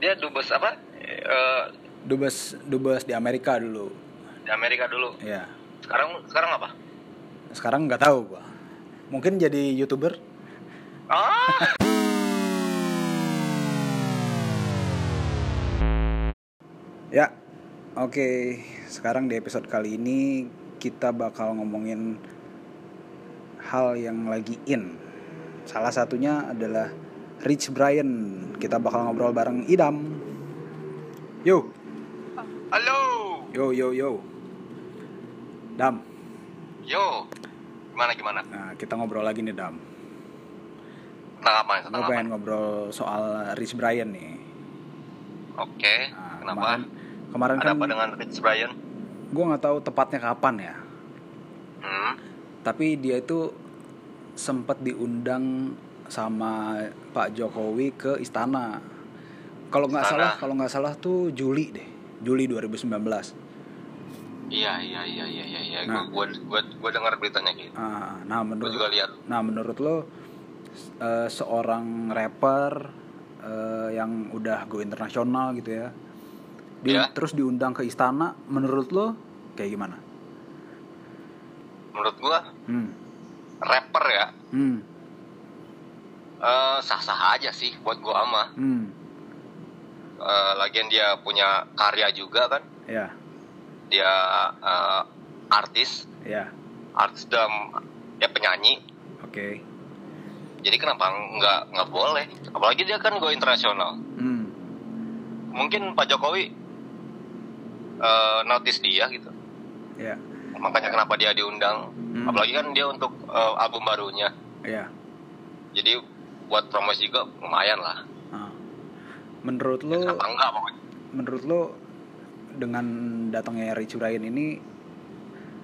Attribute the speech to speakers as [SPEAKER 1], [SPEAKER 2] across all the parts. [SPEAKER 1] dia dubes apa Eh,
[SPEAKER 2] dubes dubes di Amerika dulu
[SPEAKER 1] di Amerika dulu
[SPEAKER 2] ya
[SPEAKER 1] sekarang sekarang apa
[SPEAKER 2] sekarang nggak tahu gua mungkin jadi youtuber
[SPEAKER 1] ah
[SPEAKER 2] ya oke sekarang di episode kali ini kita bakal ngomongin hal yang lagi in salah satunya adalah Rich Brian kita bakal ngobrol bareng Idam yo
[SPEAKER 1] halo
[SPEAKER 2] yo yo yo Dam
[SPEAKER 1] yo gimana gimana
[SPEAKER 2] nah kita ngobrol lagi nih Dam
[SPEAKER 1] tentang apa tentang
[SPEAKER 2] gue
[SPEAKER 1] apa
[SPEAKER 2] pengen ngobrol soal Rich Brian nih
[SPEAKER 1] oke
[SPEAKER 2] Nah,
[SPEAKER 1] kenapa
[SPEAKER 2] kemarin, kemarin
[SPEAKER 1] ada
[SPEAKER 2] kan
[SPEAKER 1] apa dengan Rich Brian
[SPEAKER 2] gue nggak tahu tepatnya kapan ya
[SPEAKER 1] hmm
[SPEAKER 2] tapi dia itu sempat diundang sama Pak Jokowi ke istana kalau nggak
[SPEAKER 1] Istana.
[SPEAKER 2] salah kalau nggak salah tuh Juli deh Juli 2019
[SPEAKER 1] iya iya iya iya iya iya
[SPEAKER 2] Nah.
[SPEAKER 1] gue gue gue dengar beritanya gitu
[SPEAKER 2] Ah, nah
[SPEAKER 1] gue
[SPEAKER 2] menurut
[SPEAKER 1] juga lihat
[SPEAKER 2] nah menurut lo s- eh, seorang rapper eh, yang udah go internasional gitu ya di-
[SPEAKER 1] Iya.
[SPEAKER 2] terus diundang ke istana menurut lo kayak gimana
[SPEAKER 1] menurut gue
[SPEAKER 2] hmm
[SPEAKER 1] rapper ya
[SPEAKER 2] hmm
[SPEAKER 1] eh, sah-sah aja sih buat gue ama
[SPEAKER 2] hmm
[SPEAKER 1] Eh, lagian dia punya karya juga kan
[SPEAKER 2] ya
[SPEAKER 1] dia eh, artis
[SPEAKER 2] ya
[SPEAKER 1] artis dan ya penyanyi
[SPEAKER 2] oke
[SPEAKER 1] jadi kenapa nggak nggak boleh apalagi dia kan go internasional
[SPEAKER 2] hmm
[SPEAKER 1] mungkin Pak Jokowi eh, notice dia gitu
[SPEAKER 2] ya
[SPEAKER 1] makanya kenapa dia diundang
[SPEAKER 2] Hmm.
[SPEAKER 1] apalagi kan dia untuk eh, album barunya
[SPEAKER 2] ya
[SPEAKER 1] jadi buat promosi juga lumayan lah
[SPEAKER 2] Ah. menurut lo
[SPEAKER 1] kenapa enggak pokoknya
[SPEAKER 2] menurut lo dengan datangnya Rich Brian ini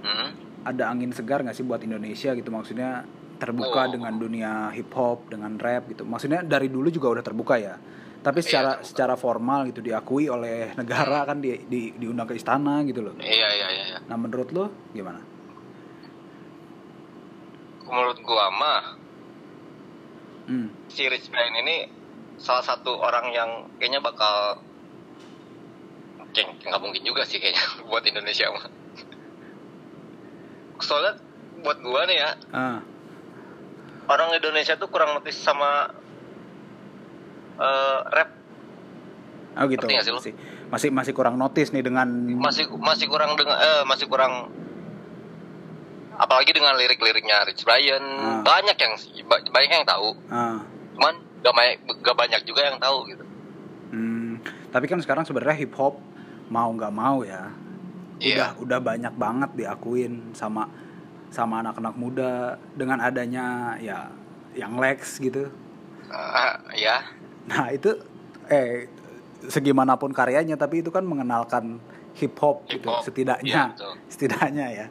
[SPEAKER 1] Hmm.
[SPEAKER 2] ada angin segar nggak sih buat Indonesia gitu maksudnya
[SPEAKER 1] Oh.
[SPEAKER 2] terbuka dengan dunia hip hop dengan rap gitu maksudnya dari dulu juga udah terbuka ya tapi secara
[SPEAKER 1] Iya, terbuka.
[SPEAKER 2] secara formal gitu diakui oleh negara kan di, di- diundang ke istana gitu loh
[SPEAKER 1] iya iya iya iya.
[SPEAKER 2] nah menurut lo gimana
[SPEAKER 1] menurut gua mah
[SPEAKER 2] hmm.
[SPEAKER 1] si Rich Brian ini salah satu orang yang kayaknya bakal Kayak- nggak mungkin juga sih kayaknya buat Indonesia mah. Soalnya buat gua nih ya
[SPEAKER 2] ah
[SPEAKER 1] orang Indonesia tuh kurang notice sama eh, rap
[SPEAKER 2] oh gitu
[SPEAKER 1] Ngerti nggak sih lo?
[SPEAKER 2] masih masih masih kurang notice nih dengan
[SPEAKER 1] masih masih kurang dengan eh, masih kurang apalagi dengan lirik-liriknya Rich Brian
[SPEAKER 2] Ah.
[SPEAKER 1] banyak yang ba- banyak yang tahu
[SPEAKER 2] ah
[SPEAKER 1] cuman gak, may- gak banyak juga yang tahu gitu
[SPEAKER 2] Hmm, tapi kan sekarang sebenarnya hip hop mau nggak mau ya,
[SPEAKER 1] Iya.
[SPEAKER 2] udah udah banyak banget diakuin sama sama anak-anak muda dengan adanya ya yang Lex gitu.
[SPEAKER 1] Ah, ya
[SPEAKER 2] Nah itu eh segimanapun karyanya tapi itu kan mengenalkan hip hop
[SPEAKER 1] Hip
[SPEAKER 2] gitu
[SPEAKER 1] hop, iya,
[SPEAKER 2] setidaknya
[SPEAKER 1] betul.
[SPEAKER 2] setidaknya ya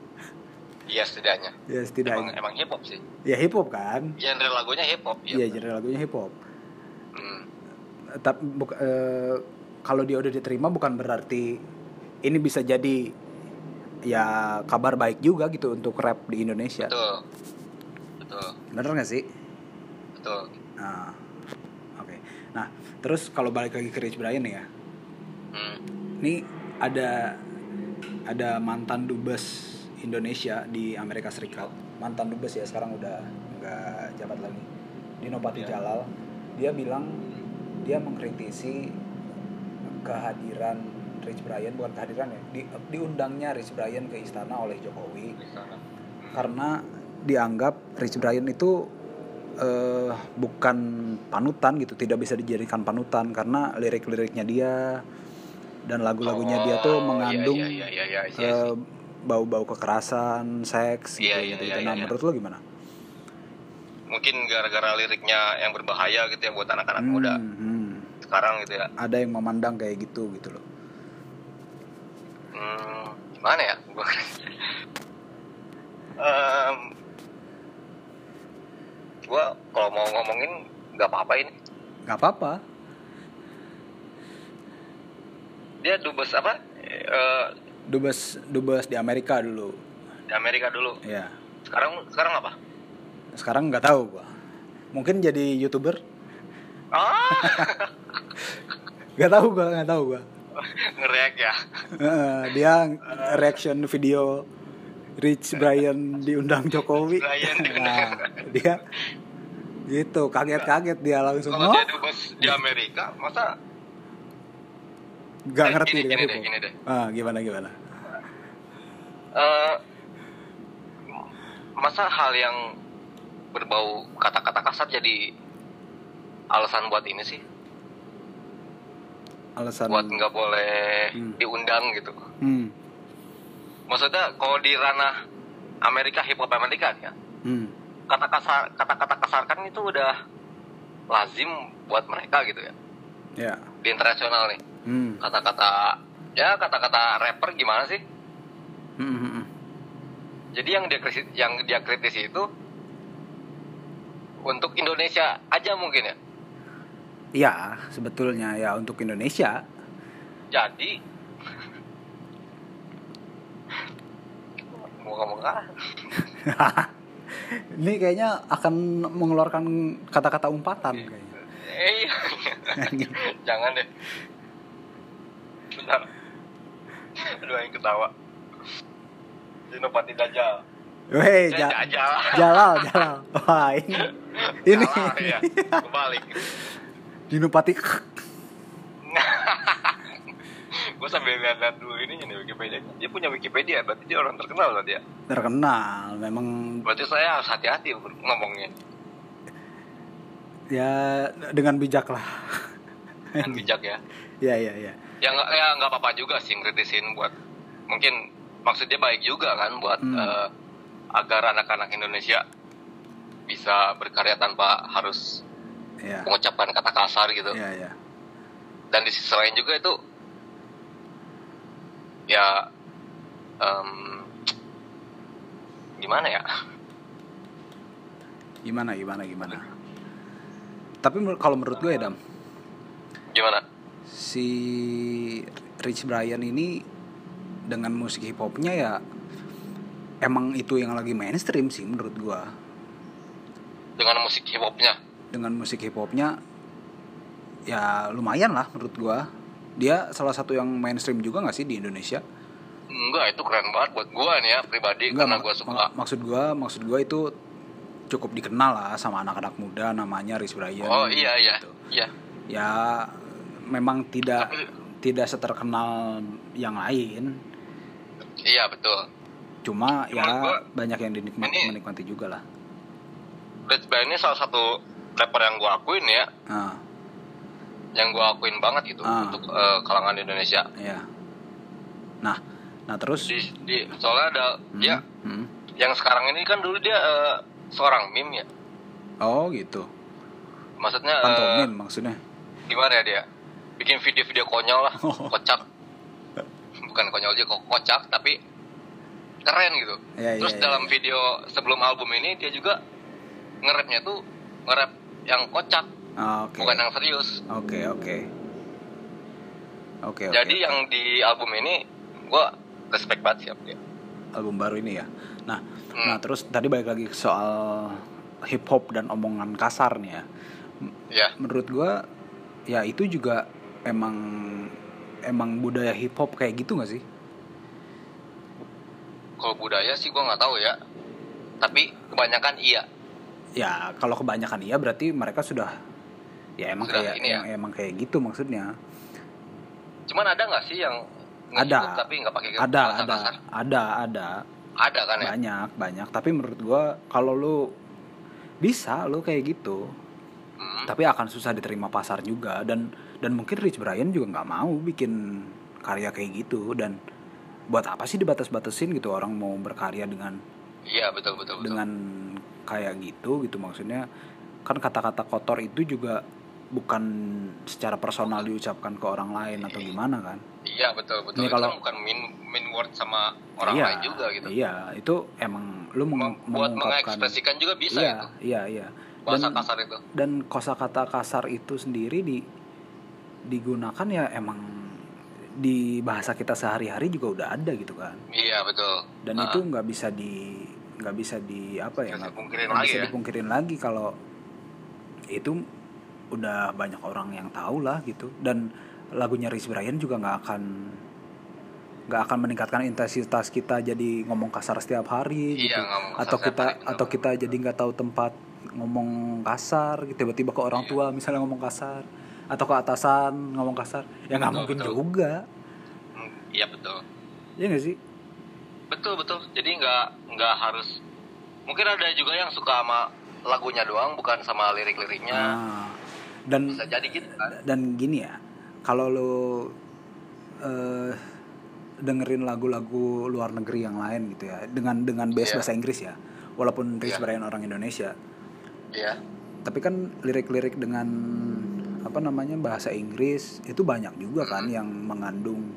[SPEAKER 1] Iya setidaknya.
[SPEAKER 2] ya
[SPEAKER 1] Emang,
[SPEAKER 2] setidaknya
[SPEAKER 1] emang hip hop sih.
[SPEAKER 2] ya hip hop kan
[SPEAKER 1] Genre lagunya hip hop.
[SPEAKER 2] ya jadi lagunya hip hop
[SPEAKER 1] Hmm.
[SPEAKER 2] tapi buka- eh, kalau dia udah diterima bukan berarti ini bisa jadi ya kabar baik juga gitu untuk rap di Indonesia
[SPEAKER 1] Betul. Betul.
[SPEAKER 2] bener nggak sih
[SPEAKER 1] Betul.
[SPEAKER 2] nah oke nah terus kalau balik lagi ke Rich Brian nih ya
[SPEAKER 1] Hmm.
[SPEAKER 2] ini ada ada mantan dubes Indonesia di Amerika Serikat mantan dubes ya sekarang udah nggak jabat lagi Dinopati
[SPEAKER 1] Ya.
[SPEAKER 2] Jalal dia bilang dia mengkritisi kehadiran Rich Brian bukan kehadiran ya di- diundangnya Rich Brian ke istana oleh Jokowi karena dianggap Rich Brian itu eh, bukan panutan gitu, tidak bisa dijadikan panutan karena lirik-liriknya dia dan lagu-lagunya dia tuh mengandung
[SPEAKER 1] Iya iya iya iya. iya,
[SPEAKER 2] eh, bau-bau kekerasan, seks gitu,
[SPEAKER 1] Iya, iya,
[SPEAKER 2] gitu,
[SPEAKER 1] iya,
[SPEAKER 2] Nah,
[SPEAKER 1] iya.
[SPEAKER 2] menurut lo gimana?
[SPEAKER 1] Mungkin gara-gara liriknya yang berbahaya gitu ya buat anak-anak
[SPEAKER 2] Hmm,
[SPEAKER 1] muda
[SPEAKER 2] hmm.
[SPEAKER 1] sekarang gitu ya.
[SPEAKER 2] Ada yang memandang kayak gitu gitu loh.
[SPEAKER 1] Hmm, gimana ya? Gua- Em, gua kalau mau ngomongin nggak apa-apa ini.
[SPEAKER 2] Gak apa-apa.
[SPEAKER 1] Dia dubes apa? Eh,
[SPEAKER 2] Dubes dubes di Amerika dulu.
[SPEAKER 1] di Amerika dulu.
[SPEAKER 2] Ya.
[SPEAKER 1] Sekarang sekarang apa?
[SPEAKER 2] Sekarang nggak tahu gua. Mungkin jadi YouTuber?
[SPEAKER 1] Ah.
[SPEAKER 2] Gak tahu gua, gak tahu gua.
[SPEAKER 1] ngereak ya
[SPEAKER 2] Heeh, Eh, dia reaction video Rich Brian diundang Jokowi.
[SPEAKER 1] Brian
[SPEAKER 2] Nah, dia gitu kaget-kaget dia langsung
[SPEAKER 1] kalau
[SPEAKER 2] oh,
[SPEAKER 1] dia dubes di Amerika masa
[SPEAKER 2] nggak
[SPEAKER 1] Eh,
[SPEAKER 2] ngerti
[SPEAKER 1] gini,
[SPEAKER 2] dengan
[SPEAKER 1] gini
[SPEAKER 2] itu.
[SPEAKER 1] deh, gini deh.
[SPEAKER 2] Ah, gimana gimana?
[SPEAKER 1] eh, masa hal yang berbau kata-kata kasar jadi alasan buat ini sih
[SPEAKER 2] Alasan
[SPEAKER 1] buat nggak boleh
[SPEAKER 2] Hmm.
[SPEAKER 1] diundang gitu
[SPEAKER 2] Hmm.
[SPEAKER 1] maksudnya kalau di ranah Amerika hip hop Amerika ya
[SPEAKER 2] Hmm.
[SPEAKER 1] kata kasar kata-kata kasar kan itu udah lazim buat mereka gitu ya
[SPEAKER 2] Ya.
[SPEAKER 1] di internasional nih
[SPEAKER 2] Hmm.
[SPEAKER 1] kata-kata ya kata-kata rapper gimana sih
[SPEAKER 2] Hmm, hmm, hmm.
[SPEAKER 1] jadi yang dia krisi- yang dia kritisi itu untuk Indonesia aja mungkin ya
[SPEAKER 2] Ya, sebetulnya ya untuk Indonesia.
[SPEAKER 1] jadi mau ngomong apa?
[SPEAKER 2] Ini kayaknya akan mengeluarkan kata-kata umpatan kayaknya.
[SPEAKER 1] Eh, iya. jangan deh bentar aduh yang ketawa Senopati Dajjal
[SPEAKER 2] Weh,
[SPEAKER 1] Eh,
[SPEAKER 2] ja-
[SPEAKER 1] Dajjal
[SPEAKER 2] Jalal, Jalal. Wah, ini. Ini.
[SPEAKER 1] Salah, ya. kebalik
[SPEAKER 2] Dinopati.
[SPEAKER 1] gue sambil lihat dulu ini nih Wikipedia dia punya Wikipedia berarti dia orang terkenal lah dia
[SPEAKER 2] Terkenal memang
[SPEAKER 1] berarti saya harus hati-hati ngomongnya
[SPEAKER 2] ya dengan bijak lah. Eh.
[SPEAKER 1] kan bijak ya
[SPEAKER 2] Ya, ya, ya.
[SPEAKER 1] ya nggak ya nggak apa-apa juga sih ngeritisin buat mungkin maksudnya baik juga kan buat
[SPEAKER 2] Hmm.
[SPEAKER 1] eh, agar anak-anak Indonesia bisa berkarya tanpa harus
[SPEAKER 2] Ya.
[SPEAKER 1] mengucapkan kata kasar gitu
[SPEAKER 2] Ya, ya.
[SPEAKER 1] dan di sisi lain juga itu ya em, gimana ya
[SPEAKER 2] Gimana gimana gimana. Tapi menur- kalau menurut gue ya, Dam,
[SPEAKER 1] gimana
[SPEAKER 2] si Rich Brian ini dengan musik hip hopnya ya emang itu yang lagi mainstream sih menurut gua
[SPEAKER 1] dengan musik hip hopnya
[SPEAKER 2] dengan musik hip hopnya ya lumayan lah menurut gua dia salah satu yang mainstream juga nggak sih di Indonesia
[SPEAKER 1] enggak itu keren banget buat gua nih ya pribadi
[SPEAKER 2] Nggak,
[SPEAKER 1] karena
[SPEAKER 2] mak-
[SPEAKER 1] gua suka
[SPEAKER 2] mak- maksud gua maksud gua itu cukup dikenal lah sama anak-anak muda namanya Rich Brian
[SPEAKER 1] oh iya iya
[SPEAKER 2] gitu.
[SPEAKER 1] iya
[SPEAKER 2] ya memang tidak
[SPEAKER 1] Tapi-
[SPEAKER 2] tidak seterkenal yang lain
[SPEAKER 1] iya betul
[SPEAKER 2] cuma ya
[SPEAKER 1] Cuma gua-
[SPEAKER 2] banyak yang dinikmati
[SPEAKER 1] ini-
[SPEAKER 2] menikmati juga lah
[SPEAKER 1] Rich Brian ini salah satu rapper yang gue akuin ya,
[SPEAKER 2] ah
[SPEAKER 1] yang gue akuin banget gitu
[SPEAKER 2] Ah.
[SPEAKER 1] untuk eh, kalangan Indonesia.
[SPEAKER 2] ya nah nah terus
[SPEAKER 1] Di, ya. di soalnya ada
[SPEAKER 2] Hmm,
[SPEAKER 1] dia
[SPEAKER 2] hmm.
[SPEAKER 1] yang sekarang ini kan dulu dia eh, seorang meme ya,
[SPEAKER 2] oh gitu
[SPEAKER 1] maksudnya eh,
[SPEAKER 2] pantomin maksudnya
[SPEAKER 1] gimana ya dia, bikin video-video konyol lah,
[SPEAKER 2] Oh.
[SPEAKER 1] kocak, bukan konyol aja kok kocak tapi keren gitu.
[SPEAKER 2] Ya,
[SPEAKER 1] Terus
[SPEAKER 2] ya, ya,
[SPEAKER 1] dalam
[SPEAKER 2] ya.
[SPEAKER 1] video sebelum album ini dia juga nge-rapnya tuh nge-rap yang kocak,
[SPEAKER 2] Ah, oke
[SPEAKER 1] bukan yang serius.
[SPEAKER 2] oke oke oke oke.
[SPEAKER 1] Jadi yang di album ini gue respect banget siap dia.
[SPEAKER 2] album baru ini ya nah
[SPEAKER 1] Hmm.
[SPEAKER 2] nah terus tadi balik lagi ke soal hip hop dan omongan kasar nih ya
[SPEAKER 1] Ya,
[SPEAKER 2] menurut gua ya itu juga emang emang budaya hip hop kayak gitu nggak sih
[SPEAKER 1] kalau budaya sih gue nggak tahu ya. Tapi kebanyakan iya.
[SPEAKER 2] ya kalau kebanyakan iya berarti mereka sudah ya emang
[SPEAKER 1] Sudah
[SPEAKER 2] kayak
[SPEAKER 1] ini ya?
[SPEAKER 2] em- emang kayak gitu maksudnya
[SPEAKER 1] Cuman ada nggak sih yang ngikut
[SPEAKER 2] Ada.
[SPEAKER 1] tapi nggak pakai
[SPEAKER 2] ada
[SPEAKER 1] bahasa
[SPEAKER 2] ada
[SPEAKER 1] kasar?
[SPEAKER 2] ada ada
[SPEAKER 1] Ada kan ya?
[SPEAKER 2] banyak banyak tapi menurut gua kalau lu bisa lu kayak gitu
[SPEAKER 1] Hmm.
[SPEAKER 2] tapi akan susah diterima pasar juga dan dan mungkin Rich Brian juga nggak mau bikin karya kayak gitu dan buat apa sih dibatas-batasin gitu orang mau berkarya dengan
[SPEAKER 1] Iya betul betul betul.
[SPEAKER 2] dengan kayak gitu gitu maksudnya kan kata-kata kotor itu juga bukan secara personal diucapkan ke orang lain atau gimana kan
[SPEAKER 1] Iya betul betul. Itu
[SPEAKER 2] Ini kalau-
[SPEAKER 1] kan bukan mean mean word sama orang
[SPEAKER 2] iya,
[SPEAKER 1] lain juga gitu.
[SPEAKER 2] iya itu emang lu meng-
[SPEAKER 1] Mem- buat
[SPEAKER 2] mengungkapkan
[SPEAKER 1] mengekspresikan juga bisa
[SPEAKER 2] iya,
[SPEAKER 1] gitu.
[SPEAKER 2] iya iya
[SPEAKER 1] Bahasa
[SPEAKER 2] dan
[SPEAKER 1] kasar itu.
[SPEAKER 2] dan kosakata kasar itu sendiri di digunakan ya emang di bahasa kita sehari-hari juga udah ada gitu kan
[SPEAKER 1] Iya betul.
[SPEAKER 2] dan
[SPEAKER 1] Ah,
[SPEAKER 2] itu nggak bisa di nggak bisa di apa ya
[SPEAKER 1] Bisa
[SPEAKER 2] nggak
[SPEAKER 1] dipungkirin
[SPEAKER 2] nggak
[SPEAKER 1] lagi
[SPEAKER 2] bisa
[SPEAKER 1] ya?
[SPEAKER 2] dipungkirin lagi kalau itu udah banyak orang yang tahu lah gitu dan lagunya Rich Brian juga nggak akan nggak akan meningkatkan intensitas kita jadi ngomong kasar setiap hari gitu
[SPEAKER 1] Iya, ngomong kasar
[SPEAKER 2] atau
[SPEAKER 1] setiap
[SPEAKER 2] kita
[SPEAKER 1] hari juga.
[SPEAKER 2] atau kita jadi nggak tahu tempat ngomong kasar gitu tiba-tiba ke orang
[SPEAKER 1] Iya.
[SPEAKER 2] tua misalnya ngomong kasar atau ke atasan ngomong kasar ya nggak
[SPEAKER 1] Betul,
[SPEAKER 2] mungkin
[SPEAKER 1] betul.
[SPEAKER 2] juga
[SPEAKER 1] Hmm, Iya betul.
[SPEAKER 2] ya nggak sih
[SPEAKER 1] Betul betul. Jadi nggak nggak harus. Mungkin ada juga yang suka sama lagunya doang, bukan sama lirik-liriknya.
[SPEAKER 2] Ah. dan
[SPEAKER 1] Nah, Bisa jadi gitu kan.
[SPEAKER 2] dan gini ya kalau lo eh, dengerin lagu-lagu luar negeri yang lain gitu ya dengan dengan base
[SPEAKER 1] Iya.
[SPEAKER 2] bahasa Inggris ya walaupun
[SPEAKER 1] Iya.
[SPEAKER 2] Rich Brian orang Indonesia
[SPEAKER 1] Iya.
[SPEAKER 2] tapi kan lirik-lirik dengan apa namanya bahasa Inggris itu banyak juga kan yang mengandung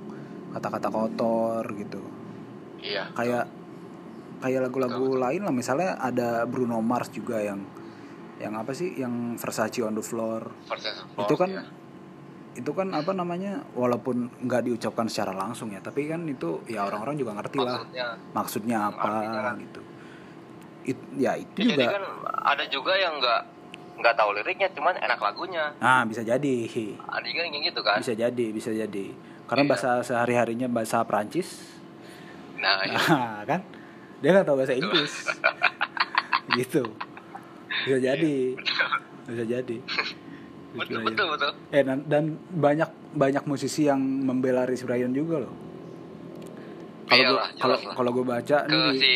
[SPEAKER 2] kata-kata kotor gitu
[SPEAKER 1] Iya.
[SPEAKER 2] kayak kayak lagu-lagu lain lah misalnya ada Bruno Mars juga yang yang apa sih yang Versace on the floor
[SPEAKER 1] Versus
[SPEAKER 2] itu kan
[SPEAKER 1] Iya.
[SPEAKER 2] itu kan apa namanya walaupun nggak diucapkan secara langsung ya tapi kan itu ya orang-orang juga ngerti lah
[SPEAKER 1] Maksudnya.
[SPEAKER 2] maksudnya
[SPEAKER 1] Artinya
[SPEAKER 2] apa
[SPEAKER 1] kan.
[SPEAKER 2] gitu It- ya
[SPEAKER 1] Ya,
[SPEAKER 2] itu
[SPEAKER 1] Jadi
[SPEAKER 2] juga
[SPEAKER 1] kan ada juga yang nggak nggak tahu liriknya, cuman enak lagunya.
[SPEAKER 2] ah bisa jadi
[SPEAKER 1] Ada juga yang kayak gitu kan.
[SPEAKER 2] bisa jadi bisa jadi
[SPEAKER 1] Iya.
[SPEAKER 2] karena bahasa sehari harinya bahasa Prancis
[SPEAKER 1] Nah, iya.
[SPEAKER 2] nah, kan dia nggak tahu bahasa Inggris gitu bisa jadi bisa jadi
[SPEAKER 1] Iya, betul
[SPEAKER 2] Gitu aja.
[SPEAKER 1] betul betul.
[SPEAKER 2] Eh, dan, dan banyak banyak musisi yang membela Rich Brian juga loh. Kalau gua-
[SPEAKER 1] Iyalah,
[SPEAKER 2] kalau
[SPEAKER 1] jelas lah.
[SPEAKER 2] kalau gue baca
[SPEAKER 1] Ke
[SPEAKER 2] nih di-
[SPEAKER 1] si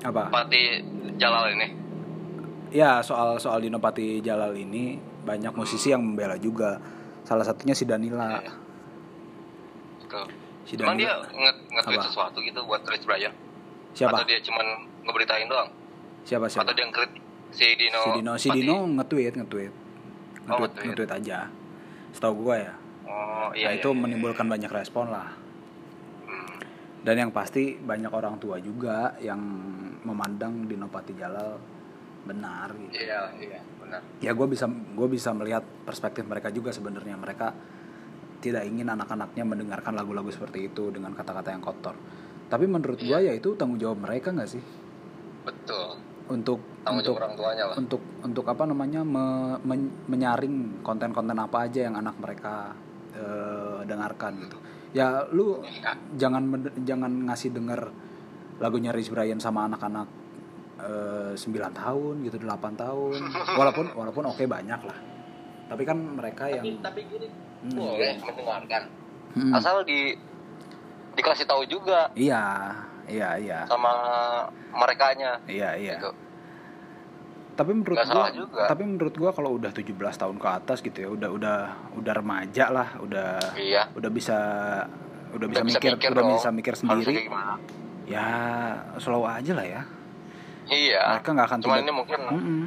[SPEAKER 2] apa?
[SPEAKER 1] Pati Jalal ini.
[SPEAKER 2] Ya soal soal Dino Pati Jalal ini banyak musisi yang membela juga. Salah satunya si Danila.
[SPEAKER 1] Iya. Betul.
[SPEAKER 2] Si
[SPEAKER 1] Cuman dia
[SPEAKER 2] Danila.
[SPEAKER 1] nge- nge-tweet
[SPEAKER 2] Apa?
[SPEAKER 1] sesuatu gitu buat Rich Brian. Atau
[SPEAKER 2] Siapa?
[SPEAKER 1] dia cuman ngeberitain doang?
[SPEAKER 2] Siapa
[SPEAKER 1] Atau
[SPEAKER 2] siapa?
[SPEAKER 1] dia ngekrit si Dino?
[SPEAKER 2] Si Dino si
[SPEAKER 1] Pati?
[SPEAKER 2] Dino nge-tweet nge-tweet.
[SPEAKER 1] Oh,
[SPEAKER 2] Nge-tweet
[SPEAKER 1] nge-tweet.
[SPEAKER 2] nge-tweet aja. Setahu gue ya.
[SPEAKER 1] Oh iya.
[SPEAKER 2] nah,
[SPEAKER 1] iya,
[SPEAKER 2] itu
[SPEAKER 1] iya.
[SPEAKER 2] menimbulkan banyak respon lah.
[SPEAKER 1] Hmm,
[SPEAKER 2] Dan yang pasti banyak orang tua juga yang memandang Dino Pati Jalal benar gitu.
[SPEAKER 1] Iya iya benar.
[SPEAKER 2] ya gue bisa gue bisa melihat perspektif mereka juga sebenarnya mereka tidak ingin anak-anaknya mendengarkan lagu-lagu seperti itu dengan kata-kata yang kotor tapi menurut gue
[SPEAKER 1] Iya.
[SPEAKER 2] ya itu tanggung jawab mereka nggak sih
[SPEAKER 1] Betul.
[SPEAKER 2] untuk
[SPEAKER 1] Tanggung
[SPEAKER 2] untuk
[SPEAKER 1] jawab orang tuanya lah.
[SPEAKER 2] untuk untuk apa namanya me- men- menyaring konten-konten apa aja yang anak mereka eh, dengarkan gitu ya lu
[SPEAKER 1] Iya.
[SPEAKER 2] jangan mende- jangan ngasih denger lagunya Rich Brian sama anak-anak eh, 9 tahun gitu 8 tahun walaupun walaupun oke banyak lah tapi kan mereka yang
[SPEAKER 1] Tapi tapi gini
[SPEAKER 2] Hmm.
[SPEAKER 1] boleh mendengarkan.
[SPEAKER 2] Hmm.
[SPEAKER 1] Asal di dikasih tahu juga
[SPEAKER 2] iya iya iya
[SPEAKER 1] sama merekanya.
[SPEAKER 2] iya iya
[SPEAKER 1] Gitu.
[SPEAKER 2] tapi menurut
[SPEAKER 1] Nggak
[SPEAKER 2] gua
[SPEAKER 1] salah juga.
[SPEAKER 2] tapi menurut gua kalau udah 17 tahun ke atas gitu ya udah udah udah remaja lah udah
[SPEAKER 1] Iya.
[SPEAKER 2] udah bisa udah bisa
[SPEAKER 1] Udah bisa
[SPEAKER 2] mikir,
[SPEAKER 1] mikir
[SPEAKER 2] udah
[SPEAKER 1] dong.
[SPEAKER 2] bisa mikir
[SPEAKER 1] Harusnya
[SPEAKER 2] sendiri
[SPEAKER 1] kayak gitu. gimana?
[SPEAKER 2] ya slow aja lah ya
[SPEAKER 1] Iya.
[SPEAKER 2] mereka nggak akan
[SPEAKER 1] Cuman
[SPEAKER 2] tidak-
[SPEAKER 1] ini mungkin
[SPEAKER 2] Mm-mm.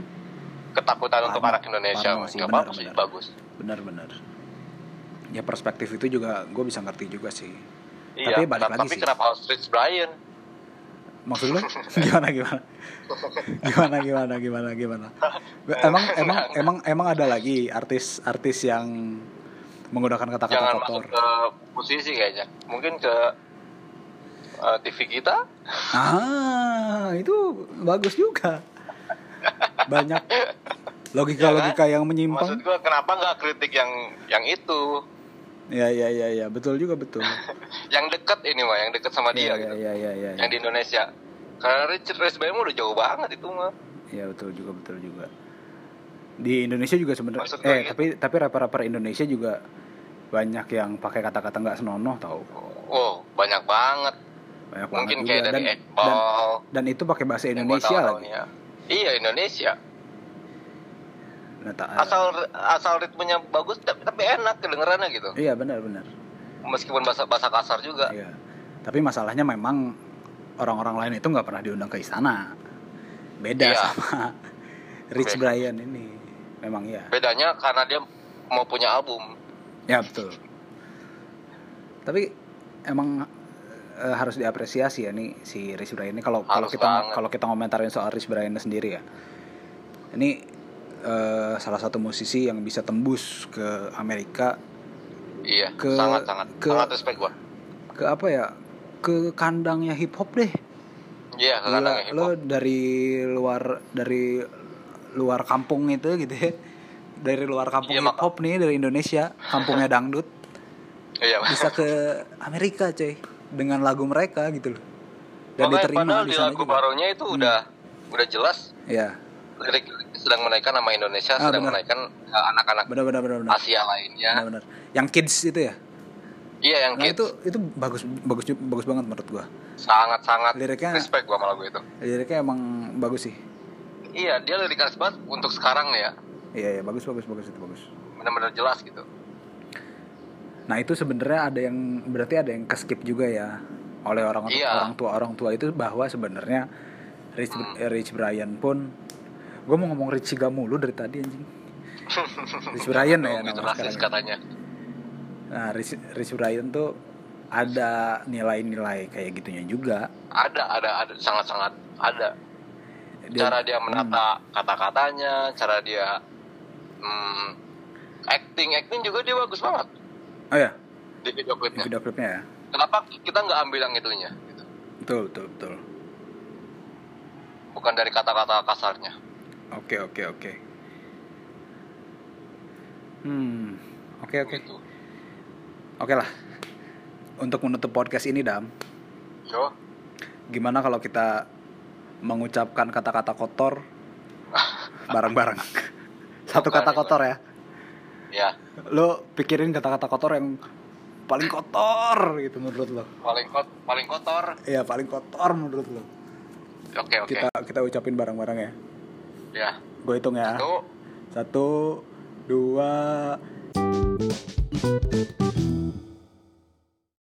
[SPEAKER 1] ketakutan untuk
[SPEAKER 2] Parno.
[SPEAKER 1] anak Indonesia.
[SPEAKER 2] Parno sih,
[SPEAKER 1] Gak apa-apa
[SPEAKER 2] Hmm? benar,
[SPEAKER 1] sih,
[SPEAKER 2] benar.
[SPEAKER 1] bagus.
[SPEAKER 2] benar-benar ya perspektif itu juga gue bisa ngerti juga sih
[SPEAKER 1] Iya.
[SPEAKER 2] Tapi balik lagi
[SPEAKER 1] tapi
[SPEAKER 2] sih.
[SPEAKER 1] kenapa harus Rich Brian?
[SPEAKER 2] maksud lu gimana gimana gimana gimana gimana gimana
[SPEAKER 1] Eh,
[SPEAKER 2] emang emang emang emang ada lagi artis-artis yang menggunakan kata-kata
[SPEAKER 1] Jangan
[SPEAKER 2] kotor
[SPEAKER 1] masuk ke musisi kayaknya. Mungkin ke eh, TV kita.
[SPEAKER 2] ah itu bagus juga banyak logika-logika yang menyimpang
[SPEAKER 1] Iya, kan? Maksud gua kenapa nggak kritik yang yang itu?
[SPEAKER 2] ya ya ya ya betul juga betul
[SPEAKER 1] Yang deket ini mah, yang deket sama dia
[SPEAKER 2] ya,
[SPEAKER 1] gitu.
[SPEAKER 2] ya ya ya ya
[SPEAKER 1] Yang di Indonesia. Karena Richard Reyes Bayam udah jauh banget itu mah.
[SPEAKER 2] Ya, betul juga betul juga di Indonesia juga sebenarnya
[SPEAKER 1] Maksud gue
[SPEAKER 2] eh
[SPEAKER 1] gitu.
[SPEAKER 2] tapi tapi rapper-rapper Indonesia juga banyak yang pakai kata-kata nggak senonoh tau
[SPEAKER 1] Wow, banyak banget.
[SPEAKER 2] banyak
[SPEAKER 1] Mungkin
[SPEAKER 2] banget
[SPEAKER 1] kayak
[SPEAKER 2] juga
[SPEAKER 1] dari
[SPEAKER 2] dan, dan
[SPEAKER 1] Ekbal.
[SPEAKER 2] dan itu pakai bahasa
[SPEAKER 1] yang gua
[SPEAKER 2] Indonesia lagi
[SPEAKER 1] tahu-tahunya. Iya Indonesia.
[SPEAKER 2] Nah, ta-
[SPEAKER 1] Asal asal ritmenya bagus tapi, tapi enak kedengerannya gitu.
[SPEAKER 2] iya benar-benar
[SPEAKER 1] Meskipun bahasa bahasa kasar juga.
[SPEAKER 2] iya tapi masalahnya memang orang-orang lain itu nggak pernah diundang ke istana beda
[SPEAKER 1] Iya.
[SPEAKER 2] sama
[SPEAKER 1] Oke.
[SPEAKER 2] Rich Brian ini memang ya
[SPEAKER 1] Bedanya karena dia mau punya album.
[SPEAKER 2] Ya betul. Tapi emang eh, harus diapresiasi ya nih si Rich Brian ini kalau kalau
[SPEAKER 1] Harus
[SPEAKER 2] kita
[SPEAKER 1] banget.
[SPEAKER 2] kalau kita ngomentarin soal Rich Brian sendiri ya. Ini eh, salah satu musisi yang bisa tembus ke Amerika
[SPEAKER 1] Iya,
[SPEAKER 2] Ke-
[SPEAKER 1] sangat sangat
[SPEAKER 2] ke-
[SPEAKER 1] sangat respect gua.
[SPEAKER 2] ke apa ya? Ke kandangnya hip hop deh.
[SPEAKER 1] Iya, ke
[SPEAKER 2] Gila,
[SPEAKER 1] kandangnya hip
[SPEAKER 2] lo
[SPEAKER 1] hop.
[SPEAKER 2] dari luar dari luar kampung itu gitu ya. Dari luar kampung
[SPEAKER 1] Iya,
[SPEAKER 2] hip hop nih dari Indonesia, kampungnya dangdut.
[SPEAKER 1] Iya.
[SPEAKER 2] bisa ke Amerika coy dengan lagu mereka gitu loh
[SPEAKER 1] Makanya
[SPEAKER 2] dan diterima
[SPEAKER 1] padahal
[SPEAKER 2] di
[SPEAKER 1] di
[SPEAKER 2] sana
[SPEAKER 1] lagu
[SPEAKER 2] juga Hmm.
[SPEAKER 1] barunya itu udah udah jelas
[SPEAKER 2] ya
[SPEAKER 1] lirik sedang menaikkan nama Indonesia,
[SPEAKER 2] Ah,
[SPEAKER 1] sedang
[SPEAKER 2] benar.
[SPEAKER 1] menaikkan eh, anak-anak
[SPEAKER 2] benar benar benar benar
[SPEAKER 1] Asia lainnya.
[SPEAKER 2] benar benar. yang kids itu ya
[SPEAKER 1] Iya ya. yang
[SPEAKER 2] nah,
[SPEAKER 1] kids
[SPEAKER 2] itu itu bagus bagus bagus banget menurut gua
[SPEAKER 1] sangat-sangat
[SPEAKER 2] Liriknya-
[SPEAKER 1] respect gua sama lagu itu.
[SPEAKER 2] liriknya emang bagus sih
[SPEAKER 1] Iya, dia liriknya banget untuk sekarang ya.
[SPEAKER 2] iya iya bagus bagus bagus itu bagus
[SPEAKER 1] Benar-benar jelas gitu.
[SPEAKER 2] Nah itu sebenarnya ada yang berarti ada yang keskip juga ya oleh orang
[SPEAKER 1] Iya.
[SPEAKER 2] orang tua orang tua itu bahwa sebenarnya Rich
[SPEAKER 1] Hmm.
[SPEAKER 2] Rich Brian pun gue mau ngomong Rich Siga mulu dari tadi anjing. Rich Brian ya
[SPEAKER 1] gitu
[SPEAKER 2] nama
[SPEAKER 1] rasis
[SPEAKER 2] sekarang.
[SPEAKER 1] katanya.
[SPEAKER 2] Nah Rich, Rich Brian tuh ada nilai-nilai kayak gitunya juga.
[SPEAKER 1] Ada, ada, ada sangat-sangat ada.
[SPEAKER 2] Dia- hmm.
[SPEAKER 1] cara dia menata kata-katanya, cara dia mm, acting acting juga dia bagus banget
[SPEAKER 2] Oh ya,
[SPEAKER 1] di video
[SPEAKER 2] di
[SPEAKER 1] klipnya.
[SPEAKER 2] video klipnya ya.
[SPEAKER 1] Kenapa kita nggak ambil yang itunya? gitu?
[SPEAKER 2] Betul betul betul.
[SPEAKER 1] Bukan dari kata-kata kasarnya.
[SPEAKER 2] Oke oke oke. Hmm oke oke
[SPEAKER 1] Gitu.
[SPEAKER 2] oke lah. Untuk menutup podcast ini dam.
[SPEAKER 1] Yo,
[SPEAKER 2] gimana kalau kita mengucapkan kata-kata kotor bareng-bareng satu kata kotor ya
[SPEAKER 1] ya
[SPEAKER 2] lo pikirin kata-kata kotor yang paling kotor gitu menurut lo
[SPEAKER 1] paling kot paling kotor.
[SPEAKER 2] Iya paling kotor menurut lo
[SPEAKER 1] Oke oke.
[SPEAKER 2] kita kita ucapin bareng-bareng ya
[SPEAKER 1] Ya.
[SPEAKER 2] gue hitung ya
[SPEAKER 1] Tuh.
[SPEAKER 2] satu dua